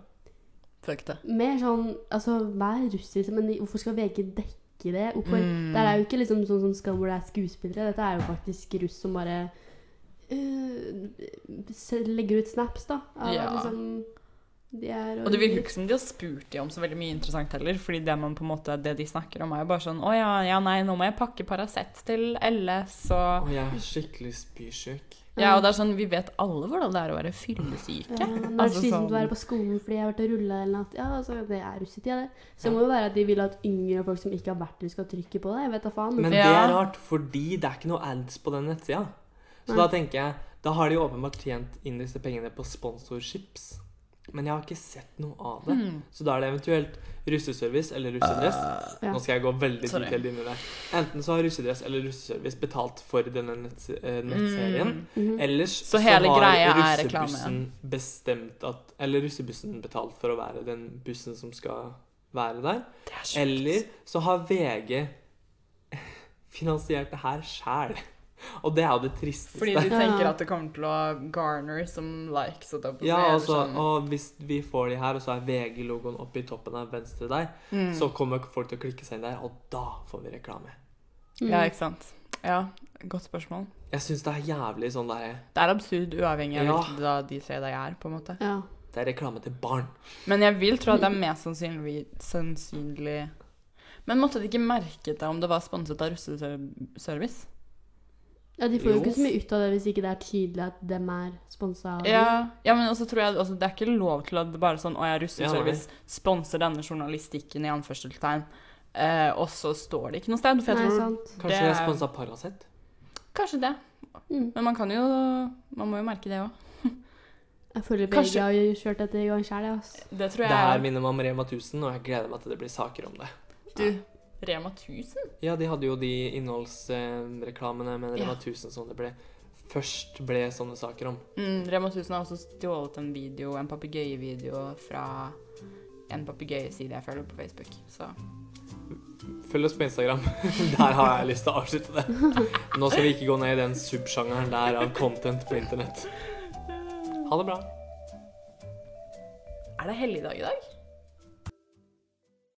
fuck det. <laughs> Mer sånn Altså, vær russisk, men hvorfor skal VG dekke det? Hvorfor? Mm. Det er jo ikke liksom sånn som skal hvor det er skuespillere. Dette er jo faktisk russ som bare øh, se- legger ut snaps, da. Av, Ja. liksom, de er Og det virker jo ikke som de har spurt de om så veldig mye interessant heller, fordi det, man på en måte, det de snakker om er jo bare sånn Å ja, ja, nei, nå må jeg pakke Paracet til LS og Å, jeg er skikkelig spysjuk. Ja, og det er sånn, vi vet alle hvordan det er å være fyllesyke. Ja, når det er Altså, slitsomt å sånn- være på skolen fordi jeg har vært og rulla eller noe. Ja, altså, det er russetida, det. Så det må jo være at de vil at yngre folk som ikke har vært russ, skal trykke på det. Jeg vet da faen. Men Men, det Ja. er rart, fordi det er ikke noe ads på den nettsida. Så Nei. da tenker jeg Da har de åpenbart tjent inn disse pengene på sponsorships. Men jeg har ikke sett noe av det. Hmm. Så da er det eventuelt russeservice eller russedress. ja. Nå skal jeg gå veldig Sorry. detaljert inn i det. Enten så har russedress eller russeservice betalt for denne nett eh, nettserien. Mm. mhm. Ellers Så hele har greia er reklame. russebussen bestemt at Eller russebussen betalt for å være den bussen som skal være der. Det er sjukt. Eller så har VG finansiert det her sjæl. Og det er jo det tristeste. Fordi de tenker Ja. at det kommer til å garner som likes. Og da på ja, seg, eller altså, sånn. og hvis vi får de her, og så er VG-logoen oppe i toppen av venstre der, Mm. så kommer folk til å klikke seg inn der, og da får vi reklame. Ja, ikke sant. Ja, godt spørsmål. Jeg syns det er jævlig sånn derre Det er absurd uavhengig av Ja. hvilket da de ser deg er, på en måte. Ja. Det er reklame til barn. Men jeg vil tro at det er mest sannsynlig, sannsynlig Men måtte de ikke merket det om det var sponset av russeservice? Ja, De får jo Jo. ikke så mye ut av det hvis ikke det er tydelig at dem er sponsa av dem. Ja, ja men også tror jeg altså, Det er ikke lov til at det bare er sånn Å ja, Russeservice sponser denne journalistikken, i anførselstegn. Eh, og så står det ikke noe sted. For jeg Nei, tror sant. Kanskje Det det er er- sponsa Paracet? Kanskje det. Mm. Men man kan jo Man må jo merke det òg. Jeg føler VG Kanskje- har jo kjørt dette i gang sjøl, jeg. ass. Det tror Det jeg her minner meg om Rema 1000, og jeg gleder meg til det blir saker om det. Du, Rema 1000? Ja, de hadde jo de innholdsreklamene med Rema Ja. 1000 som det ble først ble sånne saker om. Mm, Rema 1000 har også stjålet en video, en papegøyevideo, fra en papegøyeside jeg følger på Facebook. Så Følg oss på Instagram. <laughs> Der har jeg lyst til å avslutte det. Nå skal vi ikke gå ned i den subsjangeren der av content på internett. Ha det bra. Er det helligdag i dag?